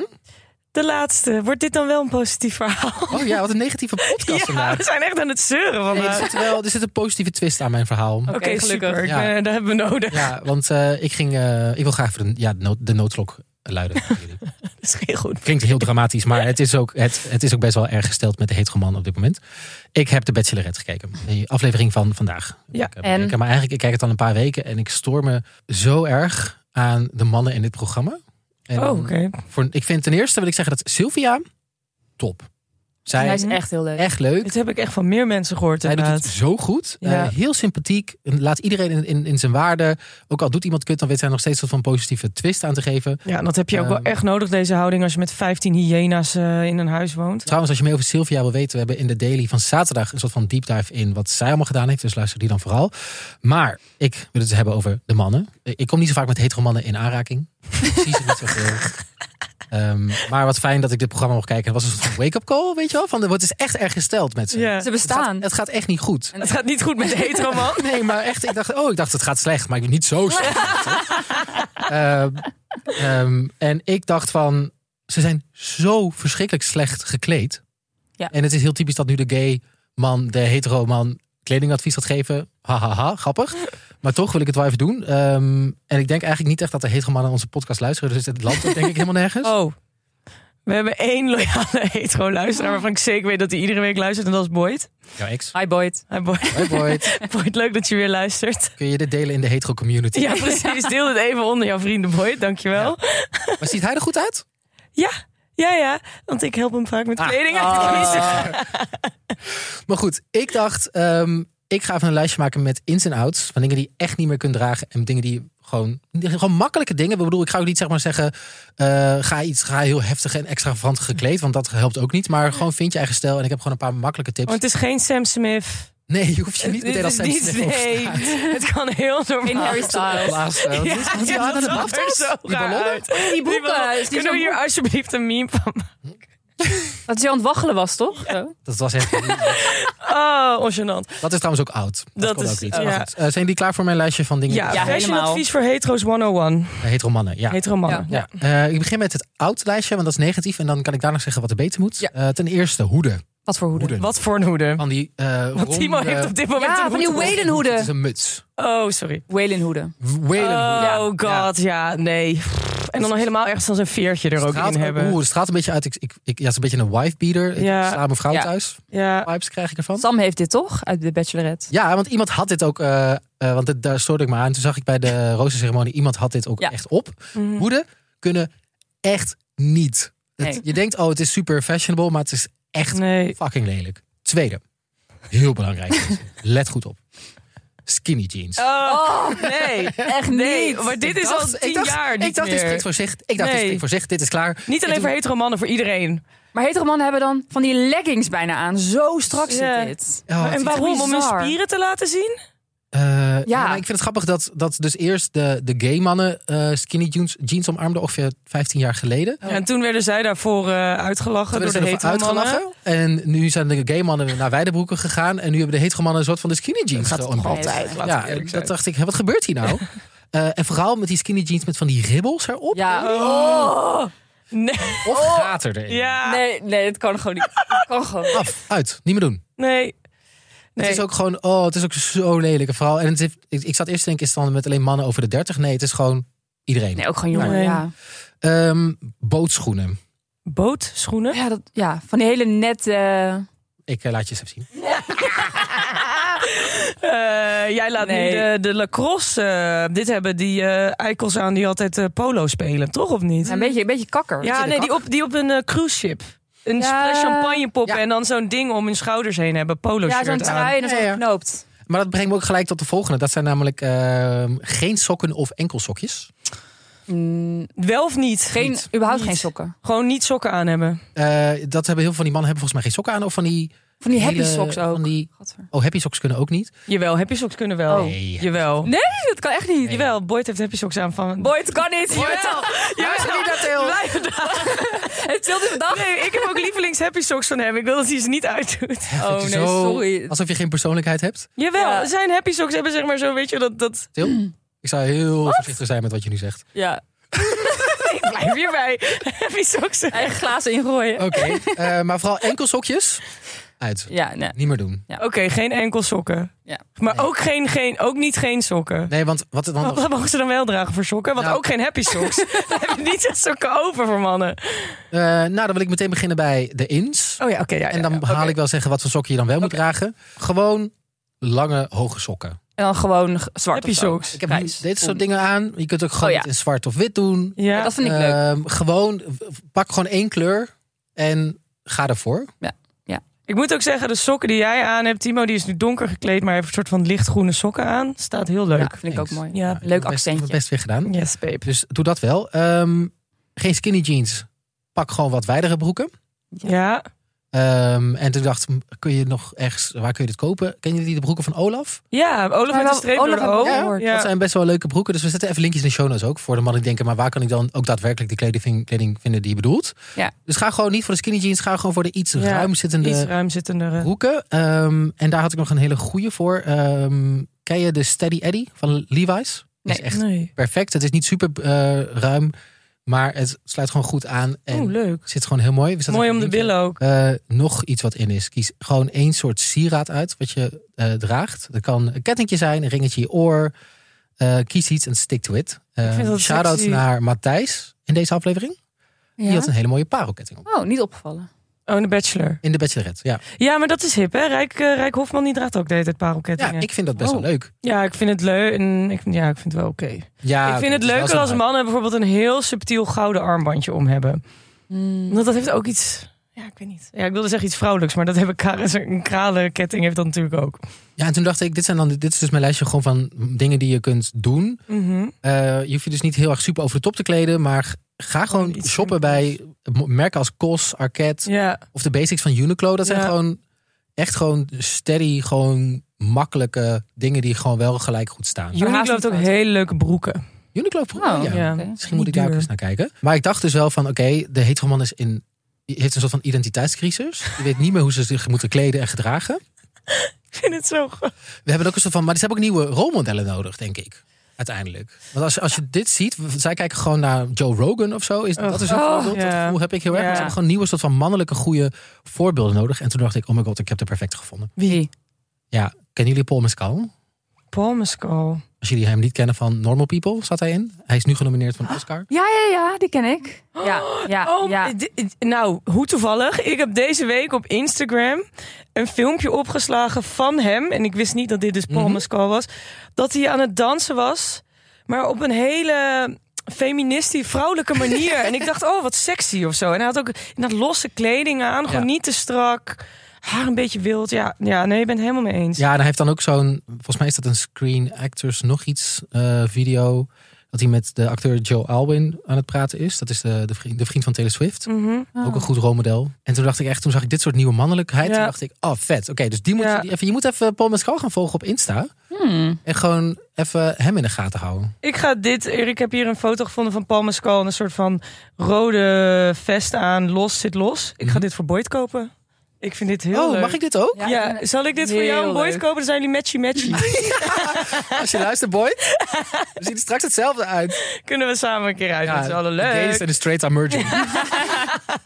A: de laatste. Wordt dit dan wel een positief verhaal?
B: Oh ja, wat een negatieve podcast
A: Ja, we
B: vandaag.
A: zijn echt aan het zeuren
B: Nee, er,
A: vandaag.
B: zit wel, er zit een positieve twist aan mijn verhaal.
A: Oké,
C: Oké, gelukkig.
A: gelukkig. Super. Ik,
B: Ja.
A: eh, dat hebben we nodig.
B: Ja, want eh, ik, ging, eh, ik wil graag even de, ja, de, nood- de noodklok luiden. voor jullie.
A: Dat is geen goed.
B: Klinkt heel dramatisch, maar het is, ook, het, het is ook best wel erg gesteld met de heteroman op dit moment. Ik heb de Bachelorette gekeken. Die aflevering van vandaag.
A: Ja,
B: Ik heb
C: en?
B: gekeken, maar eigenlijk, ik kijk het al een paar weken en ik stoor me zo erg aan de mannen in dit programma. En
A: Oh, oké.
B: voor, ik vind ten eerste wil ik zeggen dat Sylvia top. Zij
C: Hij
B: is
C: is echt heel leuk.
B: echt leuk.
A: Dit heb ik echt van meer mensen gehoord
B: Hij doet het
A: inderdaad.
B: zo goed.
A: Ja.
B: Eh, heel sympathiek. En Laat iedereen in, in, in zijn waarde. Ook al doet iemand kut, dan weet zij nog steeds wat van positieve twist aan te geven.
A: Ja, en dat heb je ook wel
B: Ehm.
A: echt nodig, deze houding, als je met 15 hyena's eh, in een huis woont.
B: Trouwens, als je meer over Sylvia wil weten, we hebben in de daily van zaterdag een soort van deep dive in wat zij allemaal gedaan heeft. Dus luister die dan vooral. Maar ik wil het dus hebben over de mannen. Eh, Ik kom niet zo vaak met hetero mannen in aanraking. Precies niet zoveel. Ehm, maar wat fijn dat ik dit programma mocht kijken. Het was een soort van wake-up call, weet je wel? Van, de- het is echt erg gesteld met ze.
A: Ja.
C: Ze
B: Het, gaat,
C: bestaan.
B: het gaat echt niet goed.
A: Het gaat niet goed met de hetero man.
B: Nee, maar echt, ik dacht, oh, ik dacht het gaat slecht, maar ik ben niet zo slecht. Ehm, ehm, en ik dacht van, ze zijn zo verschrikkelijk slecht gekleed.
C: Ja.
B: En het is heel typisch dat nu de gay man, de hetero man, kledingadvies gaat geven. Hahaha, ha, ha, grappig. Maar toch wil ik het wel even doen. Ehm, en ik denk eigenlijk niet echt dat de hetero mannen onze podcast luisteren. Dus het landt ook denk ik helemaal nergens.
A: Oh. We hebben één loyale hetero luisteraar waarvan ik zeker weet dat hij iedere week luistert. En dat is Boyd.
B: Jouw ex.
C: Hi Boyd.
A: Hi, Boyd.
B: Hoi Boyd.
A: Boyd, leuk dat je weer luistert.
B: Kun je dit delen in de hetero community?
A: Ja, precies. Deel het even onder jouw vrienden, Boyd. Dankjewel.
B: Maar ziet hij er goed uit?
A: Ja, ja, ja. Want ik help hem vaak met
B: Ah.
A: kleding uit te kiezen.
B: Maar goed, ik dacht, ehm, ik ga even een lijstje maken met ins en outs. Van dingen die je echt niet meer kunt dragen. En dingen die gewoon, gewoon makkelijke dingen. Ik bedoel, ik ga ook niet zeg maar zeggen, eh, ga iets ga heel heftig en extravagant gekleed. Want dat helpt ook niet. Maar gewoon vind je eigen stijl. En ik heb gewoon een paar makkelijke tips.
A: Want het is geen Sam Smith.
B: nee, je hoeft je niet
A: Dit
B: meteen als
A: is niet-
B: Sam Smith op straat
A: nee. Het kan heel
C: In
A: normaal.
C: Harry
B: te
C: Styles.
B: blazen. Want dit- want die
A: ja, dat
B: hadden de
A: zag
B: baftas,
A: er zo
B: die
A: raar
B: ballonnen.
A: uit.
C: Die broeken.
A: Kunnen
C: is die
A: we
C: zo'n
A: hier
C: broek?
A: alsjeblieft een meme van maken?
C: Dat hij aan het waggelen was, toch? Zo.
B: Dat was echt.
A: Oh, ongenant.
B: Dat is trouwens ook oud. Dat,
A: Dat
B: kon
A: is-
B: ook niet.
A: ja.
B: Maar goed, eh, zijn jullie klaar voor mijn lijstje van dingen?
A: Ja,
B: die-
C: Ja,
A: fashion
C: helemaal.
A: advies voor hetero's 101.
B: Hetero mannen. Ja.
A: Hetero mannen.
C: Ja.
B: Ja. Eh, ik begin met het oud lijstje, want dat is negatief. En dan kan ik daarna zeggen wat er beter moet.
C: Ja.
B: Eh, ten eerste hoeden.
C: Wat voor hoeden?
B: Hoeden.
A: Wat voor een hoede.
B: Van die eh
A: Want
B: ronde-
A: Timo heeft op dit moment
C: Ja,
A: een
C: van die
A: hoed op.
C: Whalen
B: Het is
C: hoeden.
B: een muts.
A: Oh, sorry.
C: Whalen hoeden.
B: Whalen
A: Oh god, ja, nee. En dan helemaal echt zo'n veertje er ook in hebben.
B: Oeh, het straalt een beetje uit. Ik, ik, ik- ja, het is een beetje een wife beater. Ik
A: Ja.
B: sla mijn vrouw
C: Ja.
B: thuis.
A: Ja.
B: Vibes krijg ik ervan.
C: Sam heeft dit toch? Uit de Bachelorette.
B: Ja, want iemand had dit ook. eh, eh, want het, daar stoorde ik me aan. Toen zag ik bij de rozenceremonie. Iemand had dit ook
C: Ja.
B: echt op.
A: Mhm.
B: Hoeden kunnen echt niet. Het-
C: Nee.
B: Je denkt, oh, het is super fashionable. Maar het is echt
A: Nee.
B: Fucking lelijk. Tweede. Heel belangrijk. Let goed op. Skinny jeans.
A: Oh, nee.
C: Echt
A: Nee,
C: niet.
A: maar dit
B: Ik
A: is
B: dacht-
A: al tien
B: ik dacht-
A: jaar niet
B: Ik dacht, dit
A: meer.
B: spreekt voor zich. Ik dacht, dit
A: Nee.
B: spreekt voor zich. Dit is klaar.
A: Niet alleen
B: Ik
A: voor
B: doe-
A: hetero mannen, voor iedereen.
C: Maar hetere mannen hebben dan van die leggings bijna aan. Zo strak zit
A: Ja.
C: dit.
B: Oh, het
A: en
B: is-
A: waarom? Om hun
C: bizar.
A: spieren te laten zien?
B: Eh, ja.
C: Ja.
B: maar ik vind het grappig dat, dat dus eerst de, de gay mannen eh, skinny jeans, jeans omarmden. Ongeveer 15 jaar geleden.
A: Ja, en toen werden zij daarvoor eh, uitgelachen
B: Toen
A: Oh, door de
B: werden ze
A: hetero
B: ervoor
A: mannen.
B: uitgelachen. En nu zijn de gay mannen naar wijde broeken gegaan. En nu hebben de hetero mannen een soort van de skinny jeans.
A: Gaat het nog
B: geomarmd.
A: altijd, laten
B: Ja,
A: we eerlijk zijn.
B: dat dacht ik. hè, Wat gebeurt hier nou? Eh, en vooral met die skinny jeans met van die ribbels erop.
C: Ja.
A: Oh. Nee.
B: Of gaat er erin?
A: Oh. Ja. Nee.
C: Nee, nee, dat kan gewoon niet. Dat kan gewoon.
B: Af, uit, niet meer doen.
A: Nee.
B: Het is ook gewoon, oh, het is ook zo lelijk. En Vooral, en het heeft, ik, ik zat eerst te denken, is het dan met alleen mannen over de 30? Nee, het is gewoon iedereen.
C: Nee, ook gewoon jongeren.
A: Nee.
C: Ja.
B: Ehm, bootschoenen.
A: Bootschoenen?
C: Ja, dat, ja, van die hele nette.
B: Ik eh, laat je eens even zien.
A: Eh, jij laat
C: Nee.
A: nu de, de lacrosse. eh, dit hebben die eh eikels aan die altijd eh, polo spelen, toch of niet?
C: ja, een, beetje, een beetje kakker.
A: Ja, nee, die op, die op een eh, cruise ship. Een
C: Ja.
A: fles champagne poppen
B: Ja.
A: en dan zo'n ding om hun schouders heen hebben. Polo
C: ja zo'n
A: shirt aan.
C: trui en dan
B: Ja,
C: zo
B: ja.
C: geknoopt.
B: Maar dat brengt me ook gelijk tot de volgende. Dat zijn namelijk ehm, geen sokken of enkelsokjes.
C: Mm,
A: Wel of niet?
C: geen,
A: Niet.
C: überhaupt
A: Niet.
C: geen sokken.
A: Gewoon niet sokken aan hebben.
B: Eh, dat hebben heel veel van die mannen hebben volgens mij geen sokken aan. Of van die,
C: Van die happy
B: hele-
C: socks ook.
B: Van die,
C: Gadver.
B: oh, happy socks kunnen ook niet.
A: Jawel, happy socks kunnen wel.
B: Nee.
A: Jawel.
C: Oh. Nee, dat kan echt niet.
A: Jawel, Boyd heeft happy socks aan van...
C: Boy, het kan niet.
A: Jawel. Jawel. Blijf daar.
C: Het tilde vandaag.
A: Nee, ik heb ook lievelings happy socks van hem. Ik wil dat hij ze niet uitdoet.
B: Hè,
C: Oh,
B: vind je
C: nee,
B: zo-
C: sorry.
B: Alsof je geen persoonlijkheid hebt.
A: Jawel,
C: Ja.
A: zijn happy socks hebben zeg maar zo, weet je, dat... dat...
B: Til, ik zou heel voorzichtig zijn met wat je nu zegt.
C: Ja.
A: Ik Blijf hierbij. Happy socks.
C: Eigen glazen ingooien.
B: Oké, eh, maar vooral enkelsokjes. Uit.
C: Ja, nee.
B: Niet meer doen.
A: Oké, geen enkel sokken.
C: Ja.
A: Maar ook, geen, geen, ook niet geen sokken.
B: Nee, want wat het dan...
C: Oh,
A: Wat mogen ze dan wel dragen voor sokken? Want
B: Nou.
A: ook geen happy socks. We hebben niet echt sokken over voor mannen.
B: Eh, nou, dan wil ik meteen beginnen bij de ins.
A: Oh ja, oké. ja,
B: En dan
A: ja,
B: haal ik wel zeggen wat voor sokken je dan wel moet dragen. Gewoon lange, hoge sokken.
C: En dan gewoon g- zwart
A: Happy
C: of zo.
A: socks.
B: Ik heb
C: Grijs.
B: dit soort dingen aan. Je kunt ook gewoon
C: Oh ja.
B: het in zwart of wit doen.
A: Ja.
C: Dat vind ik leuk.
B: Ehm, gewoon, w- pak gewoon één kleur en ga ervoor.
A: Ik moet ook zeggen, de sokken die jij aan hebt, Timo, die is nu donker gekleed, maar hij heeft een soort van lichtgroene sokken aan. Staat heel
C: Ja,
A: leuk.
C: vind ik ook mooi.
A: Ja.
B: Nou, ik
C: Leuk
B: heb het best-
C: accentje.
B: ik heb het best weer gedaan.
A: Yes, babe.
B: Dus doe dat wel. Ehm, geen skinny jeans. Pak gewoon wat wijdere broeken.
A: Ja.
B: Ehm, en toen dacht ik, kun je nog ergens, waar kun je dit kopen? Ken je die de broeken van Olaf?
A: Ja, Olaf
C: Maar
A: met
C: wel-
A: een streep
C: Olaf
A: door de
C: heb ik
A: oog.
C: ook gehoord.
A: Ja.
B: Dat zijn best wel leuke broeken. Dus we zetten even linkjes in de show notes ook. Voor de mannen die denken, maar waar kan ik dan ook daadwerkelijk de kleding, kleding vinden die je bedoelt?
C: Ja.
B: Dus ga gewoon niet voor de skinny jeans. Ga gewoon voor de iets
A: Ja,
B: ruimzittende
A: Iets ruimzittendere.
B: broeken. Ehm, en daar had ik nog een hele goede voor. Ehm, ken je de Steady Eddy van Levi's? Die is
C: Nee.
B: echt
A: Nee.
B: perfect. Het is niet super eh, ruim, maar het sluit gewoon goed aan. En
A: Oeh, leuk.
B: zit gewoon heel mooi. We zetten
A: Mooi
B: even
A: om de
B: een linkje.
A: billen ook.
B: Eh, nog iets wat in is. Kies gewoon één soort sieraad uit wat je eh, draagt. Dat kan een kettingje zijn, een ringetje in je oor. Eh, kies iets en stick to it. Eh,
A: vind dat
B: Shout-out
A: sexy.
B: naar Matthijs in deze aflevering. Die had een hele mooie parelketting op.
C: Oh, niet opgevallen.
A: Oh, de Bachelor.
B: In de Bachelorette, ja.
A: Ja, maar dat is hip, hè? Rijk, eh, Rijk Hofman die draagt ook de hele tijd
B: Ja,
A: parelkettingen.
B: ik vind dat best
C: Oh.
B: wel leuk.
A: Ja, ik vind het leuk. En ik, ja, ik vind het wel oké.
B: Ja,
A: ik vind het
B: leuk
A: leuker als mannen bijvoorbeeld een heel subtiel gouden armbandje om hebben. Want dat heeft ook iets... Ja, ik weet niet. Ja, ik wilde zeggen iets vrouwelijks, maar dat hebben Karis. Een kralenketting heeft dat natuurlijk ook.
B: Ja, en toen dacht ik, dit, zijn dan, dit is dus mijn lijstje gewoon van dingen die je kunt doen.
A: Mhm.
B: Eh, je hoeft je dus niet heel erg super over de top te kleden, maar g- ga gewoon
A: Oh, iets
B: shoppen bij merken als COS, Arket
A: Ja,
B: of de basics van Uniqlo. Dat zijn
A: Ja.
B: gewoon echt gewoon steady, gewoon makkelijke dingen die gewoon wel gelijk goed staan.
A: Uniqlo
C: haast
A: heeft ook
C: niet fout.
A: hele leuke broeken.
B: Uniqlo broeken,
C: Oh,
B: ja.
A: ja.
C: Oké.
B: Misschien moet
A: Niet
B: ik daar ook
A: duur.
B: eens naar kijken. Maar ik dacht dus wel van, oké, de hetero man is in, die heeft een soort van identiteitscrisis. Die weet niet meer hoe ze zich moeten kleden en gedragen.
A: Ik vind het zo goed.
B: We hebben ook een soort van, maar ze hebben ook nieuwe rolmodellen nodig, denk ik. Uiteindelijk. Want als, als je dit ziet, w- zij kijken gewoon naar Joe Rogan of zo. Is, dat is een
A: oh,
B: voorbeeld. Dat
A: ja.
B: gevoel heb ik heel erg. Maar
A: Ja.
B: ze hebben gewoon nieuwe soort van mannelijke goede voorbeelden nodig. En toen dacht ik, oh my god, ik heb de perfecte gevonden.
C: Wie?
B: Ja, kennen jullie Paul Mescal?
A: Palmescal.
B: Als jullie hem niet kennen van Normal People, zat hij in. Hij is nu genomineerd voor een Oscar.
A: Ah.
C: Ja, ja, ja, die ken ik. Ja, ja,
A: Oh,
C: ja.
A: d- d- nou, hoe toevallig. Ik heb deze week op Instagram een filmpje opgeslagen van hem. En ik wist niet dat dit dus Paul
B: Mhm.
A: Mescal was. Dat hij aan het dansen was, maar op een hele feministische, vrouwelijke manier. en ik dacht, oh, wat sexy of zo. En hij had ook dat losse kleding aan, gewoon
B: Ja.
A: niet te strak. Haar een beetje wild. Ja, ja nee, ik ben het helemaal mee eens.
B: Ja, en hij heeft dan ook zo'n, volgens mij is dat een Screen Actors nog iets eh, video. Dat hij met de acteur Joe Alwyn aan het praten is. Dat is de, de, vriend, de vriend van Taylor Swift.
A: Mhm.
B: Ook een goed rolmodel. En toen dacht ik echt, toen zag ik dit soort nieuwe mannelijkheid.
A: Ja.
B: Toen dacht ik, oh vet. Oké, dus die moet,
A: Ja.
B: die even, je moet even Paul Mescal gaan volgen op Insta.
C: Hmm.
B: En gewoon even hem in de gaten houden.
A: Ik ga dit. Ik heb hier een foto gevonden van Paul Mescal. in Een soort van rode vest aan. Los zit los. Ik ga
B: Mhm.
A: dit voor Boyd kopen. Ik vind dit heel
B: oh,
A: leuk.
B: mag ik dit ook?
A: Ja,
C: ik vind het
A: zal ik dit voor jou
C: heel
A: en Boyd
C: leuk.
A: kopen? Dan zijn jullie matchy matchy.
B: Als je luistert, boy. We zien er straks hetzelfde uit.
A: Kunnen we samen een keer uit? dat is wel
B: de gays
A: leuk.
B: en de straight are merging.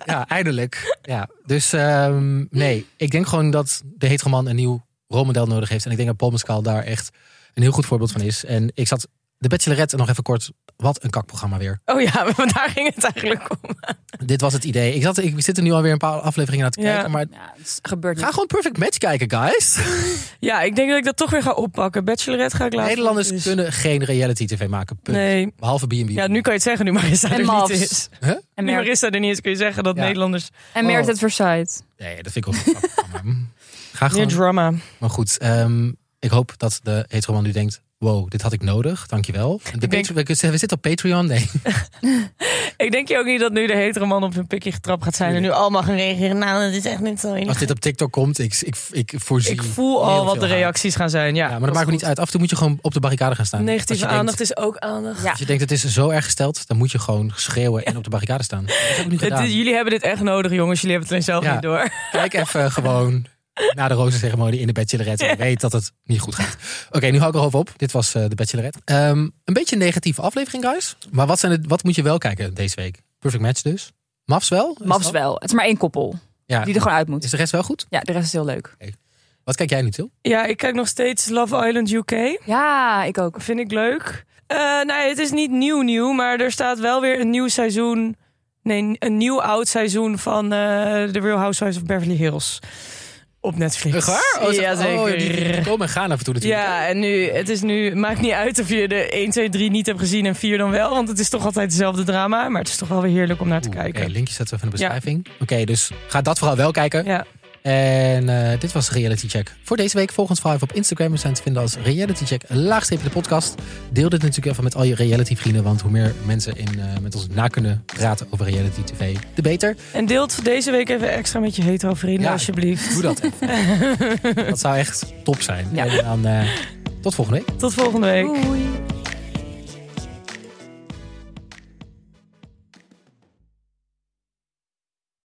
B: ja, eindelijk. Ja, dus ehm, nee, ik denk gewoon dat de hetero man een nieuw rolmodel nodig heeft. En ik denk dat Paul Mescal daar echt een heel goed voorbeeld van is. En ik zat... De Bachelorette, nog even kort, wat een kakprogramma weer.
A: Oh ja, want daar ging het eigenlijk om.
B: Dit was het idee. Ik, zat, ik zit er nu alweer een paar afleveringen naar te
A: Ja.
B: kijken. Maar
C: Ja, het gebeurt
B: ga
C: niet.
B: gewoon Perfect Match kijken, guys.
A: Ja, ik denk dat ik dat toch weer ga oppakken. Bachelorette ga ik laten.
B: Nederlanders
A: Dus-
B: kunnen geen reality tv maken. Punt.
A: Nee.
B: Behalve B&B.
A: Ja, nu kan je het zeggen. Nu Marissa
C: En
A: er niet
C: Mavs.
A: is.
C: En,
A: Nu
C: Mer
A: Marissa er niet is kun je zeggen dat
B: Ja.
A: Nederlanders...
C: en Merit at Versailles.
B: Nee, dat vind ik ook een grappig programma. Ga
A: Meer
B: gewoon.
A: drama.
B: Maar goed, ehm, ik hoop dat de hetero man nu denkt... Wow, dit had ik nodig. Dankjewel. De
A: denk-
B: Patreon- we, we zitten op Patreon. Nee.
A: Ik denk je ook niet dat nu de hetere man op hun pikje getrapt gaat zijn en nu allemaal gaan reageren. Nou, dat is echt niet zo.
B: Als dit op TikTok komt, ik, ik, ik voorzie...
A: Ik voel
B: heel
A: al wat de
B: veel haat.
A: reacties gaan zijn. Ja,
B: Ja, maar dat maakt ook niet uit. Af en toe moet je gewoon op de barricade gaan staan. Als je
A: Negatieve
B: denkt-
A: aandacht is ook aandacht.
C: Ja.
B: als je denkt, het is zo erg gesteld, dan moet je gewoon schreeuwen en op de barricade staan. Dat heb ik nu
A: Dit-
B: gedaan.
A: jullie hebben dit echt nodig, jongens. Jullie hebben het alleen zelf
B: Ja.
A: niet door.
B: Kijk even gewoon na de rozenceremonie in de Bachelorette. En weet dat het niet goed gaat. Oké, nu hou ik erover op. Dit was eh, de Bachelorette. Ehm, een beetje een negatieve aflevering, guys. Maar wat, zijn het, wat moet je wel kijken deze week? Perfect Match dus. Mavs wel? Is
C: Mavs
B: dat-
C: wel. Het is maar één koppel
B: Ja.
C: die er gewoon uit moet.
B: Is de rest wel goed?
C: Ja, de rest is heel leuk.
B: Wat kijk jij nu, Til?
A: Ja, ik kijk nog steeds Love Island UK.
C: Ja, ik ook.
A: Vind ik leuk. Eh nee, het is niet nieuw nieuw, maar er staat wel weer een nieuw seizoen. Nee, een nieuw oud seizoen van eh The Real Housewives of Beverly Hills. Op Netflix.
B: Echt waar? Oh, ze-
A: ja, zeker.
B: oh, die, die komen en gaan af en toe natuurlijk.
A: Ja, en nu, het is nu, maakt niet uit of je de 1, 2, 3 niet hebt gezien en 4 dan wel. Want het is toch altijd hetzelfde drama. Maar het is toch wel weer heerlijk om naar te
B: Oeh,
A: kijken.
B: Oké, linkje zetten we even in de
A: Ja.
B: beschrijving. Oké, dus ga dat vooral wel kijken.
A: Ja.
B: En eh, dit was Reality Check. Voor deze week volg ons vooral even op Instagram. We zijn te vinden als Reality Check, laagstreepje de podcast. Deel dit natuurlijk even met al je reality vrienden. Want hoe meer mensen in, eh, met ons na kunnen praten over reality tv, de beter.
A: En deelt deze week even extra met je hetero vrienden,
B: Ja.
A: alsjeblieft.
B: Doe dat even. dat zou echt top zijn.
C: Ja.
B: En dan eh, tot volgende week.
A: Tot volgende week.
C: Doei.